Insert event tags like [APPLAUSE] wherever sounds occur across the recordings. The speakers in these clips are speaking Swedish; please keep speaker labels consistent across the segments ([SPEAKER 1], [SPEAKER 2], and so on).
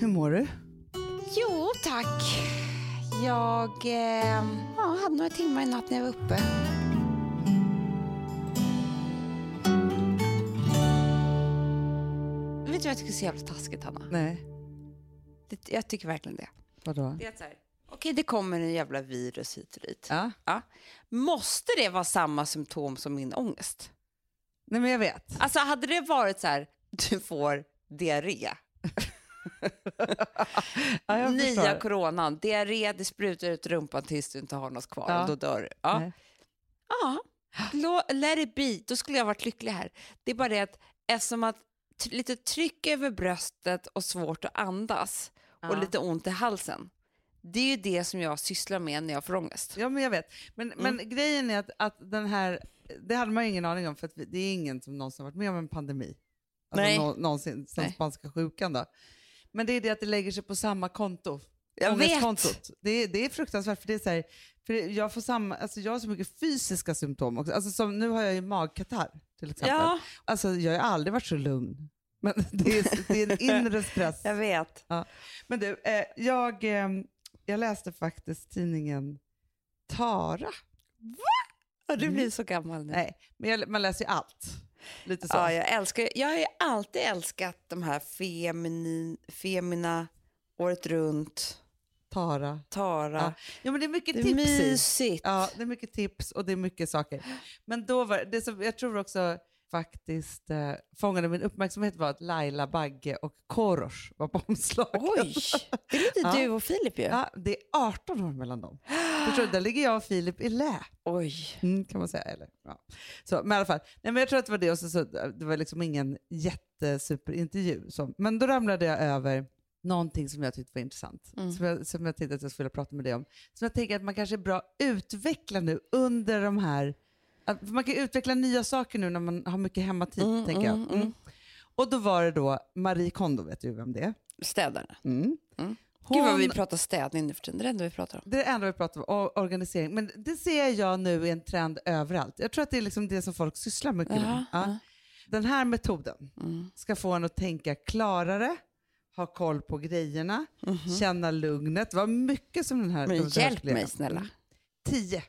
[SPEAKER 1] hur mår du?
[SPEAKER 2] Jo, tack. Jag eh, ja, hade några timmar i natt när jag var uppe. Vet du vad jag tycker är så jävla taskigt, Hanna?
[SPEAKER 1] Nej.
[SPEAKER 2] Det, jag tycker verkligen det.
[SPEAKER 1] Vadå?
[SPEAKER 2] Det är så här, Okej, det kommer en jävla virus hit och dit.
[SPEAKER 1] Ja.
[SPEAKER 2] Ja. Måste det vara samma symptom som min ångest?
[SPEAKER 1] Nej men jag vet.
[SPEAKER 2] Alltså hade det varit så här, du får diarré.
[SPEAKER 1] Ja, jag
[SPEAKER 2] Nya
[SPEAKER 1] förstår.
[SPEAKER 2] coronan, diarré, det sprutar ut rumpan tills du inte har något kvar
[SPEAKER 1] Ja.
[SPEAKER 2] och då dör du. Ja.
[SPEAKER 1] Nej.
[SPEAKER 2] Ja, Lå- let it be. Då skulle jag varit lycklig här. Det är bara det att eftersom att t- lite tryck över bröstet och svårt att andas och
[SPEAKER 1] Ja.
[SPEAKER 2] lite ont i halsen. Det är ju det som jag sysslar med när jag får ångest.
[SPEAKER 1] Ja men jag vet. Men, men grejen är att, att den här, det hade man ju ingen aning om för att vi- det är ingen som någonsin har varit med om en pandemi. Alltså
[SPEAKER 2] Nej.
[SPEAKER 1] nå- någonsin, sen
[SPEAKER 2] Nej.
[SPEAKER 1] spanska sjukan då. Men det är det att det lägger sig på samma konto.
[SPEAKER 2] Jag vet.
[SPEAKER 1] Ångestkontot. Det, är- det är fruktansvärt för det är så här, för det- jag får samma, alltså jag har så mycket fysiska symptom också. Alltså som, nu har jag ju magkatarr till exempel.
[SPEAKER 2] Ja,
[SPEAKER 1] Alltså jag har aldrig varit så lugn. Men [LAUGHS] det är, det är en inre stress.
[SPEAKER 2] jag vet.
[SPEAKER 1] Men du, eh, jag, eh, jag läste faktiskt tidningen Tara.
[SPEAKER 2] Ja, du blir så gammal nu.
[SPEAKER 1] Mm. Nej, men jag, man läser ju allt. Lite så.
[SPEAKER 2] Ja, jag, älskar, jag har ju alltid älskat de här feminin, femina, året runt,
[SPEAKER 1] Tara.
[SPEAKER 2] Tara.
[SPEAKER 1] Ja. Ja, men det är mycket
[SPEAKER 2] Det är
[SPEAKER 1] tips i.
[SPEAKER 2] mysigt.
[SPEAKER 1] Ja, det är mycket tips och det är mycket saker. Men då var det som jag tror också faktiskt eh, fångade min uppmärksamhet var att Laila Bagge och Korosh var på omslaget.
[SPEAKER 2] Oj, det är lite
[SPEAKER 1] Ja.
[SPEAKER 2] du och Filip ju.
[SPEAKER 1] Ja, det är 18 år mellan dem. Förstår du? Där ligger jag och Filip i lä.
[SPEAKER 2] Oj.
[SPEAKER 1] Mm, kan man säga. Eller, ja. så, men i alla fall, nej, men jag tror att det var det och så, så, det var liksom ingen jättesuperintervju. Så. Men då ramlade jag över någonting som jag tyckte var intressant,
[SPEAKER 2] Mm.
[SPEAKER 1] som, jag, som jag tänkte att jag skulle prata med dig om. Som jag tänker att man kanske är bra att utveckla nu under de här, att- för man kan ju utveckla nya saker nu när man har mycket hemmatid,
[SPEAKER 2] Mm,
[SPEAKER 1] tänker jag.
[SPEAKER 2] mm,
[SPEAKER 1] Mm.
[SPEAKER 2] mm.
[SPEAKER 1] Och då var det då Marie Kondo, vet du vem det är?
[SPEAKER 2] Städarna.
[SPEAKER 1] Mm.
[SPEAKER 2] Mm.
[SPEAKER 1] Hon,
[SPEAKER 2] Gud vad vi pratar städning nu för tiden. Det är det enda vi pratar om.
[SPEAKER 1] det är det enda vi pratar om, o- organisering. Men det ser jag nu är en trend överallt. Jag tror att det är liksom det som folk sysslar mycket med.
[SPEAKER 2] Jaha,
[SPEAKER 1] Ja.
[SPEAKER 2] ja.
[SPEAKER 1] Den här metoden
[SPEAKER 2] Mm.
[SPEAKER 1] ska få en att tänka klarare, ha koll på grejerna, känna lugnet. Det var mycket som den här...
[SPEAKER 2] Mhm. Men
[SPEAKER 1] den här
[SPEAKER 2] hjälp
[SPEAKER 1] skulle
[SPEAKER 2] mig,
[SPEAKER 1] göra.
[SPEAKER 2] snälla.
[SPEAKER 1] Mm. Tio.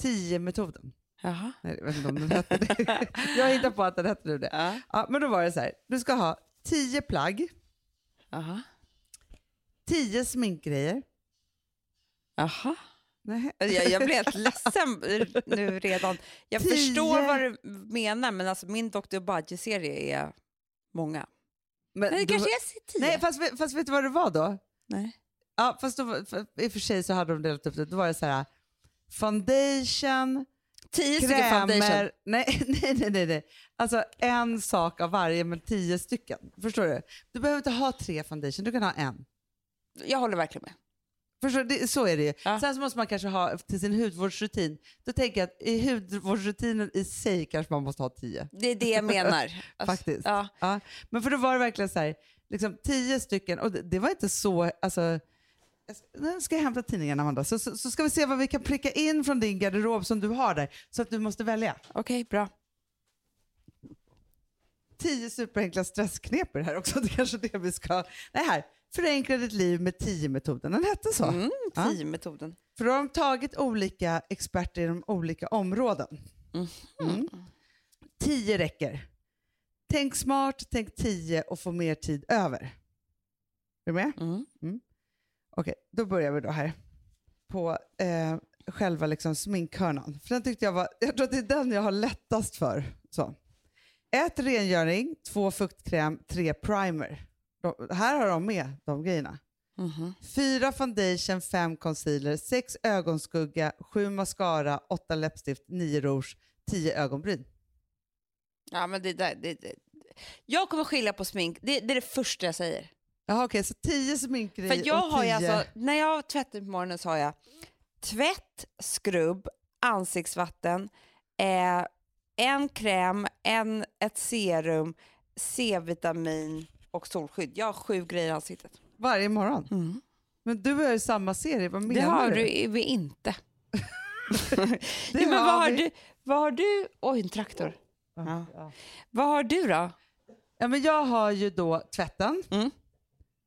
[SPEAKER 1] Tio metoden.
[SPEAKER 2] Jaha.
[SPEAKER 1] Nej, jag vet inte om den hette det. [LAUGHS] Jag hittar på att den hette nu det.
[SPEAKER 2] Ja.
[SPEAKER 1] Ja, men då var det så här. Du ska ha tio plagg,
[SPEAKER 2] Jaha.
[SPEAKER 1] tio sminkgrejer.
[SPEAKER 2] Jaha.
[SPEAKER 1] Nej.
[SPEAKER 2] Jag, jag blev helt ledsen nu redan. Jag
[SPEAKER 1] Tio.
[SPEAKER 2] förstår vad du menar, men alltså min Dr. Budge-serie är många.
[SPEAKER 1] Men
[SPEAKER 2] Men det
[SPEAKER 1] då-
[SPEAKER 2] kanske är tio.
[SPEAKER 1] Nej, fast, fast vet du vad det var då?
[SPEAKER 2] Nej.
[SPEAKER 1] Ja, fast då, var- för, i och för sig så hade de delat upp det. Då var det så här, foundation,
[SPEAKER 2] Tio stycken foundation.
[SPEAKER 1] krämer. Nej, [LAUGHS] nej, nej, nej, nej. Alltså en sak av varje, men tio stycken. Förstår du? Du behöver inte ha tre foundation, du kan ha en.
[SPEAKER 2] Jag håller verkligen med.
[SPEAKER 1] Förstår du? Det, så är det ju.
[SPEAKER 2] Ja.
[SPEAKER 1] Sen så måste man kanske ha till sin hudvårdsrutin. Då tänker jag att i hudvårdsrutinen i sig kanske man måste ha tio.
[SPEAKER 2] Det är det [LAUGHS] jag menar. Alltså,
[SPEAKER 1] Faktiskt.
[SPEAKER 2] Ja.
[SPEAKER 1] Ja, men för då var det verkligen så här, liksom tio stycken, och det, det var inte så, alltså, jag ska- nu ska jag hämta tidningen Amanda, så, så, så ska vi se vad vi kan pricka in från din garderob som du har där, så att du måste välja.
[SPEAKER 2] Okej, bra.
[SPEAKER 1] Tio superenkla stressknep är det här också, [LAUGHS] det kanske är det vi ska, nej här, förenkla ditt liv med tio metoden, den hette så.
[SPEAKER 2] Mm,
[SPEAKER 1] Ja.
[SPEAKER 2] tio-metoden.
[SPEAKER 1] För då har de tagit olika experter inom olika områden. Mm. Tio räcker. Tänk smart, tänk tio och få mer tid över. Är du med?
[SPEAKER 2] Mm.
[SPEAKER 1] Okej, då börjar vi då här. På eh, själva liksom sminkhörnan. För den tyckte jag var, jag tror att det är den jag har lättast för. Så. Ett rengöring, två fuktkräm, tre primer. De, här har de med de grejerna.
[SPEAKER 2] Mhm.
[SPEAKER 1] Fyra foundation, fem concealer, sex ögonskugga, sju mascara, åtta läppstift, nio rouge, tio ögonbryn.
[SPEAKER 2] Ja, men det där... Det, det. Jag kommer skilja på smink. Det, det är det första jag säger.
[SPEAKER 1] Jaha okej, så tio sminkgrejer
[SPEAKER 2] För jag
[SPEAKER 1] och
[SPEAKER 2] har ju
[SPEAKER 1] tio...
[SPEAKER 2] alltså, när jag tvättar på morgonen så har jag tvätt, skrubb, ansiktsvatten, eh, en kräm, en, ett serum, C-vitamin och solskydd. Jag har sju grejer i ansiktet.
[SPEAKER 1] Varje morgon. Men du har ju samma serie, vad
[SPEAKER 2] Mm. det
[SPEAKER 1] menar
[SPEAKER 2] har
[SPEAKER 1] du?
[SPEAKER 2] du i- vi [LAUGHS] inte.
[SPEAKER 1] Det
[SPEAKER 2] ja, men vad, har
[SPEAKER 1] vi.
[SPEAKER 2] du, vad har du? Oj, en traktor.
[SPEAKER 1] Ja.
[SPEAKER 2] Vad har du då?
[SPEAKER 1] Ja, men jag har ju då tvätten,
[SPEAKER 2] Mm.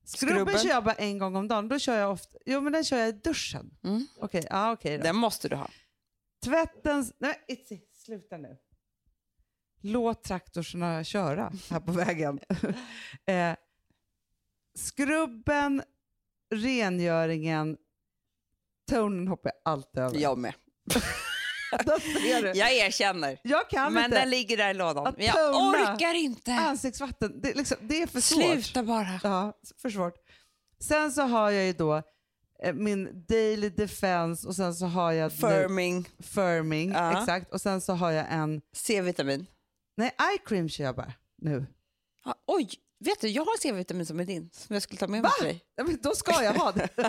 [SPEAKER 1] Skrubben
[SPEAKER 2] Skrubben.
[SPEAKER 1] kör jag bara en gång om dagen. Då kör jag ofta, jo men den kör jag i duschen.
[SPEAKER 2] Mm.
[SPEAKER 1] Okej, ja okej då.
[SPEAKER 2] Den måste du ha.
[SPEAKER 1] Tvättens... Nej, Itzy, sluta nu. Låt traktorerna köra här på
[SPEAKER 2] [LAUGHS]
[SPEAKER 1] vägen. eh, skrubben, rengöringen, tonen hoppar jag alltid över. [LAUGHS]
[SPEAKER 2] Jag med.
[SPEAKER 1] Där ser du.
[SPEAKER 2] Jag erkänner.
[SPEAKER 1] Jag kan
[SPEAKER 2] Men
[SPEAKER 1] inte.
[SPEAKER 2] den ligger där i lådan.
[SPEAKER 1] Att
[SPEAKER 2] Men jag
[SPEAKER 1] tömma.
[SPEAKER 2] orkar inte.
[SPEAKER 1] Ansiktsvatten, det, är liksom, det är för svårt.
[SPEAKER 2] Sluta bara.
[SPEAKER 1] Ja, för svårt. Sen så har jag ju då eh, min daily defense och sen så har jag nu,
[SPEAKER 2] Firming,
[SPEAKER 1] firming.
[SPEAKER 2] Ja.
[SPEAKER 1] Exakt. Och sen så har jag en,
[SPEAKER 2] C-vitamin.
[SPEAKER 1] nej eye cream kör jag bara nu.
[SPEAKER 2] Ja, oj, vet du, jag har C-vitamin som är din, som jag skulle ta med
[SPEAKER 1] Va?
[SPEAKER 2] mig till dig.
[SPEAKER 1] Ja, men då ska jag ha
[SPEAKER 2] [LAUGHS]
[SPEAKER 1] det. Du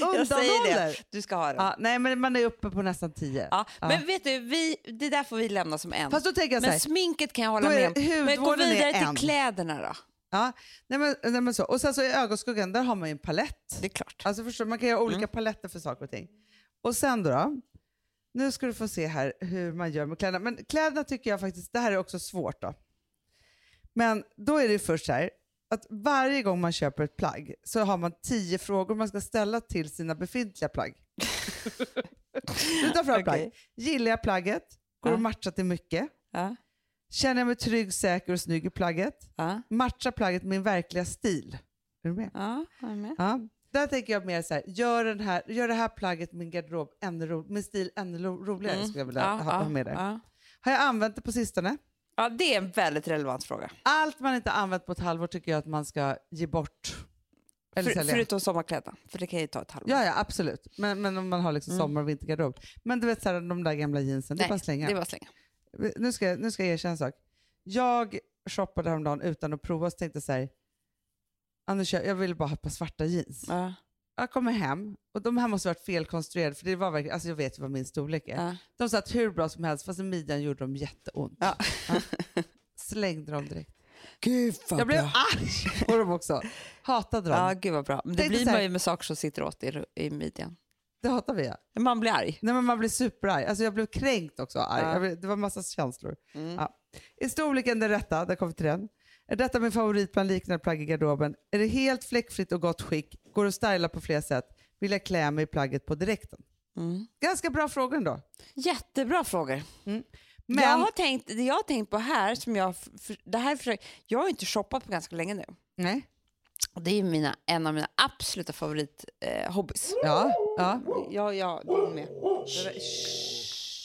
[SPEAKER 2] Jag säger
[SPEAKER 1] undanhåller.
[SPEAKER 2] det, du ska ha den. Ja.
[SPEAKER 1] Ja, nej, men man är uppe på nästan tio.
[SPEAKER 2] Men vet du, vi, det där får vi lämna som en.
[SPEAKER 1] Fast då tänker jag så
[SPEAKER 2] men
[SPEAKER 1] här,
[SPEAKER 2] sminket kan jag
[SPEAKER 1] då
[SPEAKER 2] hålla med
[SPEAKER 1] är
[SPEAKER 2] om.
[SPEAKER 1] det-
[SPEAKER 2] Men gå
[SPEAKER 1] hudvården
[SPEAKER 2] vidare
[SPEAKER 1] är en.
[SPEAKER 2] till kläderna då.
[SPEAKER 1] Ja, nej, men, nej, men så. Och sen så i ögonskuggan, där har man ju en palett.
[SPEAKER 2] Det är klart.
[SPEAKER 1] Alltså förstår, du, man kan göra olika
[SPEAKER 2] Mm.
[SPEAKER 1] paletter för saker och ting. Och sen då, då? Nu ska du få se här hur man gör med kläderna. Men kläderna tycker jag faktiskt, det här är också svårt då. Men då är det ju först så här, att varje gång man köper ett plagg så har man tio frågor man ska ställa till sina befintliga plagg. du tar fram plagg.
[SPEAKER 2] [LAUGHS] Okej.
[SPEAKER 1] Gillar jag plagget? Går det att
[SPEAKER 2] Ja.
[SPEAKER 1] matcha till mycket?
[SPEAKER 2] Ja,
[SPEAKER 1] Känner jag mig trygg, säker och snygg i plagget?
[SPEAKER 2] ja,
[SPEAKER 1] Matchar plagget min verkliga stil? Är du med?
[SPEAKER 2] ja, jag är med.
[SPEAKER 1] Ja. Där tänker jag mer så här, gör, den här, gör det här plagget min garderob ännu ro, min stil ännu ro, roligare
[SPEAKER 2] Mm.
[SPEAKER 1] skulle jag vilja
[SPEAKER 2] Ja,
[SPEAKER 1] ha,
[SPEAKER 2] ja,
[SPEAKER 1] ha med där.
[SPEAKER 2] ja.
[SPEAKER 1] Har jag använt det på sistone?
[SPEAKER 2] ja, det är en väldigt relevant fråga.
[SPEAKER 1] Allt man inte har använt på ett halvår tycker jag att man ska ge bort. Eller
[SPEAKER 2] För,
[SPEAKER 1] sälja.
[SPEAKER 2] förutom sommarkläderna, för det kan ju ta ett halvår.
[SPEAKER 1] Ja, ja absolut. Men, men om man har liksom
[SPEAKER 2] Mm.
[SPEAKER 1] sommar och vintergarderob. Men du vet så här, de där gamla jeansen, det är
[SPEAKER 2] Nej,
[SPEAKER 1] bara att slänga.
[SPEAKER 2] Det är bara att slänga.
[SPEAKER 1] nu, ska, jag- nu ska jag erkänna en sak. Jag shoppade häromdagen utan att prova så tänkte jag så här, Anders, jag jag ville bara ha ett par svarta jeans.
[SPEAKER 2] Ja,
[SPEAKER 1] Jag kommer hem och de här måste ha varit felkonstruerade för det var verkligen, alltså jag vet ju vad min storlek är.
[SPEAKER 2] ja.
[SPEAKER 1] De satt hur bra som helst fast i midjan gjorde de jätteont.
[SPEAKER 2] Ja.
[SPEAKER 1] Slängde dem direkt.
[SPEAKER 2] Gud vad
[SPEAKER 1] Jag blev arg på dem också. Hatade dem.
[SPEAKER 2] Ja, gud vad bra. Men det
[SPEAKER 1] Tänkte
[SPEAKER 2] blir
[SPEAKER 1] så här-
[SPEAKER 2] man ju med saker som sitter åt i, i midjan.
[SPEAKER 1] Det hatar vi ja.
[SPEAKER 2] Man blir arg.
[SPEAKER 1] Nej men man blir superarg. Alltså jag blev kränkt också. Arg.
[SPEAKER 2] Ja. Mm.
[SPEAKER 1] Jag blev, det var massa känslor. Är storleken den rätta? Där kom vi till den. Är detta min favorit bland liknande plagg i garderoben? Är det helt fläckfritt och gott skick? Går att styla på flera sätt? Vill jag klä mig i plagget på direkten?
[SPEAKER 2] Mm.
[SPEAKER 1] Ganska bra frågor ändå.
[SPEAKER 2] Jättebra frågor.
[SPEAKER 1] Men,
[SPEAKER 2] Jag har tänkt, det jag har tänkt på här, som jag, f- f- det här försöker, jag har ju inte shoppat på ganska länge nu.
[SPEAKER 1] nej.
[SPEAKER 2] Och det är ju mina, en av mina absoluta favorithobbies. Eh, hobbies.
[SPEAKER 1] Ja, ja.
[SPEAKER 2] ja, ja, din med.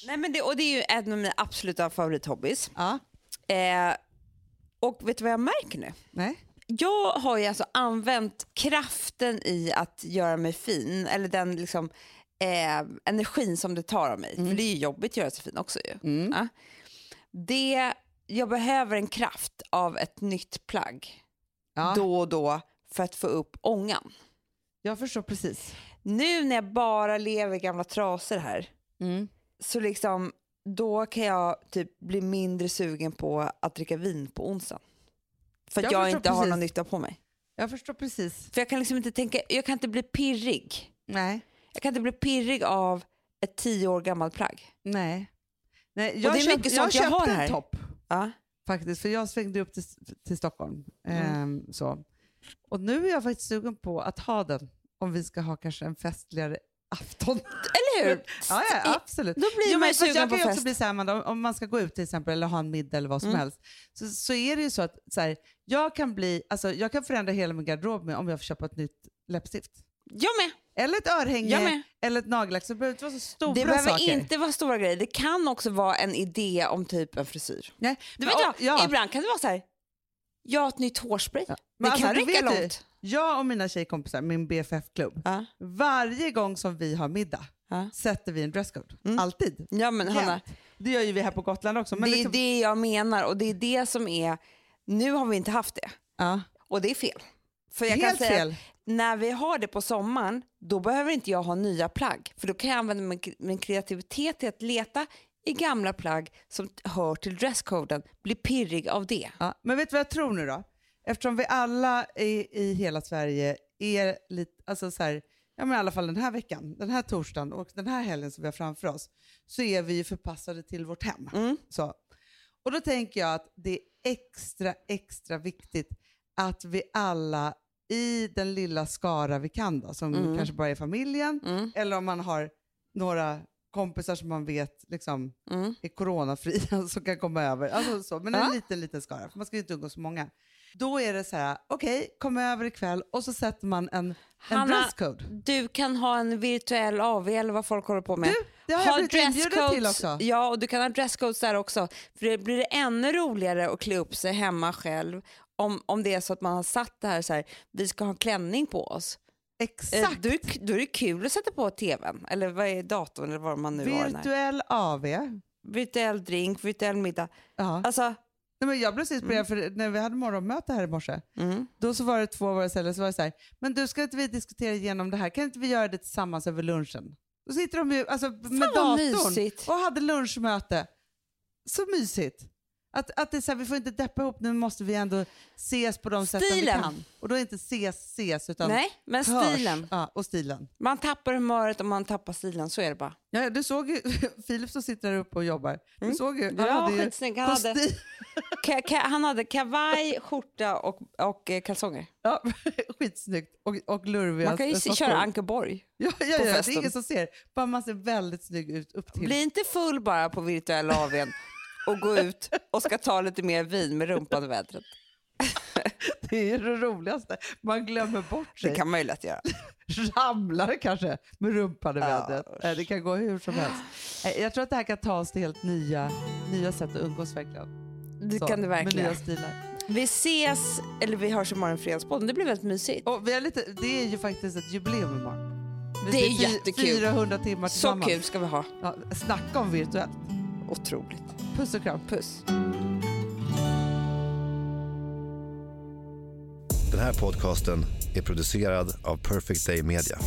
[SPEAKER 2] Nej, men det, och det är ju en av mina absoluta favorithobbies.
[SPEAKER 1] ja.
[SPEAKER 2] Eh, och vet du vad jag märker nu?
[SPEAKER 1] Nej.
[SPEAKER 2] Jag har ju alltså använt kraften i att göra mig fin, eller den liksom, eh, energin som det tar av mig.
[SPEAKER 1] Mm.
[SPEAKER 2] För det är ju jobbigt att göra sig fin också ju. Ja. Det, jag behöver en kraft av ett nytt plagg
[SPEAKER 1] Ja.
[SPEAKER 2] då och då för att få upp ångan.
[SPEAKER 1] Jag förstår precis.
[SPEAKER 2] Nu när jag bara lever i gamla trasor här,
[SPEAKER 1] Mm.
[SPEAKER 2] så liksom, då kan jag typ bli mindre sugen på att dricka vin på onsdag. För att
[SPEAKER 1] Jag
[SPEAKER 2] jag,
[SPEAKER 1] förstår
[SPEAKER 2] inte har
[SPEAKER 1] precis.
[SPEAKER 2] någon nytta på mig.
[SPEAKER 1] Jag förstår precis.
[SPEAKER 2] För jag kan liksom inte tänka, jag kan inte bli pirrig.
[SPEAKER 1] Nej.
[SPEAKER 2] Jag kan inte bli pirrig av ett tio år gammalt plagg.
[SPEAKER 1] Nej. Nej
[SPEAKER 2] det är
[SPEAKER 1] jag,
[SPEAKER 2] mycket
[SPEAKER 1] köpt, jag
[SPEAKER 2] sånt jag
[SPEAKER 1] köpte
[SPEAKER 2] har här.
[SPEAKER 1] en topp
[SPEAKER 2] Ja.
[SPEAKER 1] faktiskt, för jag svängde upp till, till Stockholm.
[SPEAKER 2] Mm.
[SPEAKER 1] Ehm, så. Och nu är jag faktiskt sugen på att ha den om vi ska ha kanske en festligare afton.
[SPEAKER 2] Eller hur?
[SPEAKER 1] ja, [LAUGHS] ja, absolut.
[SPEAKER 2] Då blir
[SPEAKER 1] Jo,
[SPEAKER 2] man ju
[SPEAKER 1] men, fast
[SPEAKER 2] sugen
[SPEAKER 1] jag
[SPEAKER 2] på
[SPEAKER 1] kan ju
[SPEAKER 2] fest.
[SPEAKER 1] också bli så här, Amanda, om, om man ska gå ut till exempel eller ha en middag eller vad som
[SPEAKER 2] Mm.
[SPEAKER 1] helst, så, så är det ju så att så här, jag, kan bli, alltså, jag kan förändra hela min garderob med om jag får köpa ett nytt läppstift.
[SPEAKER 2] Jag med.
[SPEAKER 1] Eller ett
[SPEAKER 2] Jag
[SPEAKER 1] örhänge,
[SPEAKER 2] med.
[SPEAKER 1] eller ett nagellack. Så det behöver inte vara så stora
[SPEAKER 2] Det behöver
[SPEAKER 1] saker.
[SPEAKER 2] inte vara stora grejer. Det kan också vara en idé om typ en frisyr.
[SPEAKER 1] Nej,
[SPEAKER 2] Du
[SPEAKER 1] men,
[SPEAKER 2] vet,
[SPEAKER 1] och-
[SPEAKER 2] jag,
[SPEAKER 1] ja.
[SPEAKER 2] Ibland kan det vara så här, jag har ett nytt hårspray.
[SPEAKER 1] Ja.
[SPEAKER 2] Det
[SPEAKER 1] Men
[SPEAKER 2] kan
[SPEAKER 1] alltså, du
[SPEAKER 2] räcka
[SPEAKER 1] vet ju,
[SPEAKER 2] långt.
[SPEAKER 1] Jag och mina tjejkompisar, min BFF-klubb,
[SPEAKER 2] Ja.
[SPEAKER 1] varje gång som vi har middag
[SPEAKER 2] Ja.
[SPEAKER 1] sätter vi en dresscode.
[SPEAKER 2] Mm.
[SPEAKER 1] Alltid.
[SPEAKER 2] ja men Hanna,
[SPEAKER 1] Jämt. Det gör ju vi här på Gotland också.
[SPEAKER 2] det
[SPEAKER 1] Men
[SPEAKER 2] är
[SPEAKER 1] liksom,
[SPEAKER 2] det jag menar och det är det som är, nu har vi inte haft det
[SPEAKER 1] Ja.
[SPEAKER 2] och det är fel. För jag kan
[SPEAKER 1] Helt
[SPEAKER 2] säga att
[SPEAKER 1] fel.
[SPEAKER 2] när vi har det på sommaren, då behöver inte jag ha nya plagg. För då kan jag använda min, min kreativitet till att leta i gamla plagg som t- hör till dresscoden, bli pirrig av det.
[SPEAKER 1] Ja. Men vet du vad jag tror nu då? Eftersom vi alla i, i hela Sverige är lite, alltså så här, ja men i alla fall den här veckan, den här torsdagen och den här helgen som vi har framför oss, så är vi ju förpassade till vårt hem.
[SPEAKER 2] Mm.
[SPEAKER 1] Så. Och då tänker jag att det är extra, extra viktigt att vi alla i den lilla skara vi kan då, som
[SPEAKER 2] Mm.
[SPEAKER 1] kanske bara är familjen,
[SPEAKER 2] Mm,
[SPEAKER 1] eller om man har några kompisar som man vet liksom,
[SPEAKER 2] mm,
[SPEAKER 1] är coronafria [LAUGHS] som kan komma över. Alltså så, men en
[SPEAKER 2] Ja.
[SPEAKER 1] liten, liten skara, för man ska ju inte umgås så många. Då är det så här, okej, kom över ikväll och så sätter man en, en
[SPEAKER 2] Hanna,
[SPEAKER 1] dresscode.
[SPEAKER 2] Du kan ha en virtuell AV eller vad folk håller på med.
[SPEAKER 1] Du, det har jag
[SPEAKER 2] Ha
[SPEAKER 1] blivit inbjuden till
[SPEAKER 2] dresscodes-
[SPEAKER 1] också.
[SPEAKER 2] Ja, och du kan ha dresscodes där också. För det blir det ännu roligare att klä upp sig hemma själv om, om det är så att man har satt det här så här, vi ska ha en klänning på oss. Eh,
[SPEAKER 1] Exakt.
[SPEAKER 2] Då är, det- då är det kul att sätta på tvn, eller vad är datorn eller vad man nu har den här.
[SPEAKER 1] Virtuell AV.
[SPEAKER 2] Virtuell drink, virtuell middag.
[SPEAKER 1] Ja.
[SPEAKER 2] Alltså,
[SPEAKER 1] Nej, men jag blev så inspirerad för när vi hade morgonmöte här i morse,
[SPEAKER 2] mm,
[SPEAKER 1] då så var det två av våra celler så var det så här, men du ska inte vi diskutera igenom det här, kan inte vi göra det tillsammans över lunchen? Då sitter de ju alltså, med
[SPEAKER 2] vad
[SPEAKER 1] datorn
[SPEAKER 2] mysigt.
[SPEAKER 1] och hade lunchmöte. Så mysigt. Att, att det är så här, vi får inte deppa ihop, nu måste vi ändå ses på de sätten vi
[SPEAKER 2] Stilen.
[SPEAKER 1] kan. Och då är inte ses ses utan
[SPEAKER 2] Nej, men
[SPEAKER 1] hörs.
[SPEAKER 2] stilen.
[SPEAKER 1] Ja, och stilen.
[SPEAKER 2] Man tappar humöret om man tappar stilen, så är det bara.
[SPEAKER 1] Ja, du såg ju [LAUGHS] Filip som sitter där uppe och jobbar. Du
[SPEAKER 2] Mm.
[SPEAKER 1] såg ju, han
[SPEAKER 2] Ja,
[SPEAKER 1] hade ju
[SPEAKER 2] skitsnygg. Han hade,
[SPEAKER 1] kostym.
[SPEAKER 2] ka, ka, han hade kavaj, skjorta och, och eh, kalsonger.
[SPEAKER 1] [LAUGHS] Ja, [LAUGHS] skitsnyggt och, och lurviga
[SPEAKER 2] Man kan ju se,
[SPEAKER 1] sockor.
[SPEAKER 2] köra Ankeborg.
[SPEAKER 1] Ja, ja, ja, det är
[SPEAKER 2] festen.
[SPEAKER 1] ingen som ser. Bara man ser väldigt snygg ut upp till.
[SPEAKER 2] Bli inte full bara på virtuella AWn och gå ut och ska ta lite mer vin med rumpan i vädret.
[SPEAKER 1] Det är ju det roligaste. Man glömmer bort sig.
[SPEAKER 2] Det kan man ju lätt göra.
[SPEAKER 1] Ramlar kanske med rumpan i
[SPEAKER 2] Ja,
[SPEAKER 1] vädret.
[SPEAKER 2] Ah, usch.
[SPEAKER 1] Nej, Det kan gå hur som helst. Nej, Jag tror att det här kan ta oss till helt nya, nya sätt att umgås verkligen.
[SPEAKER 2] Det
[SPEAKER 1] Så,
[SPEAKER 2] kan det
[SPEAKER 1] Med
[SPEAKER 2] verkligen.
[SPEAKER 1] nya stilar.
[SPEAKER 2] Vi ses, eller vi hörs imorgon i Fredagspodden. Det blir väldigt mysigt.
[SPEAKER 1] Och vi har lite, det är ju faktiskt ett jubileum imorgon. Vi-
[SPEAKER 2] Det är
[SPEAKER 1] fi-
[SPEAKER 2] jättekul.
[SPEAKER 1] 400 timmar
[SPEAKER 2] Så
[SPEAKER 1] tillsammans.
[SPEAKER 2] kul ska vi ha.
[SPEAKER 1] Ja, snacka om virtuellt.
[SPEAKER 2] Otroligt.
[SPEAKER 1] Puss och kram.
[SPEAKER 2] Puss.
[SPEAKER 3] Den här podcasten är producerad av Perfect Day Media.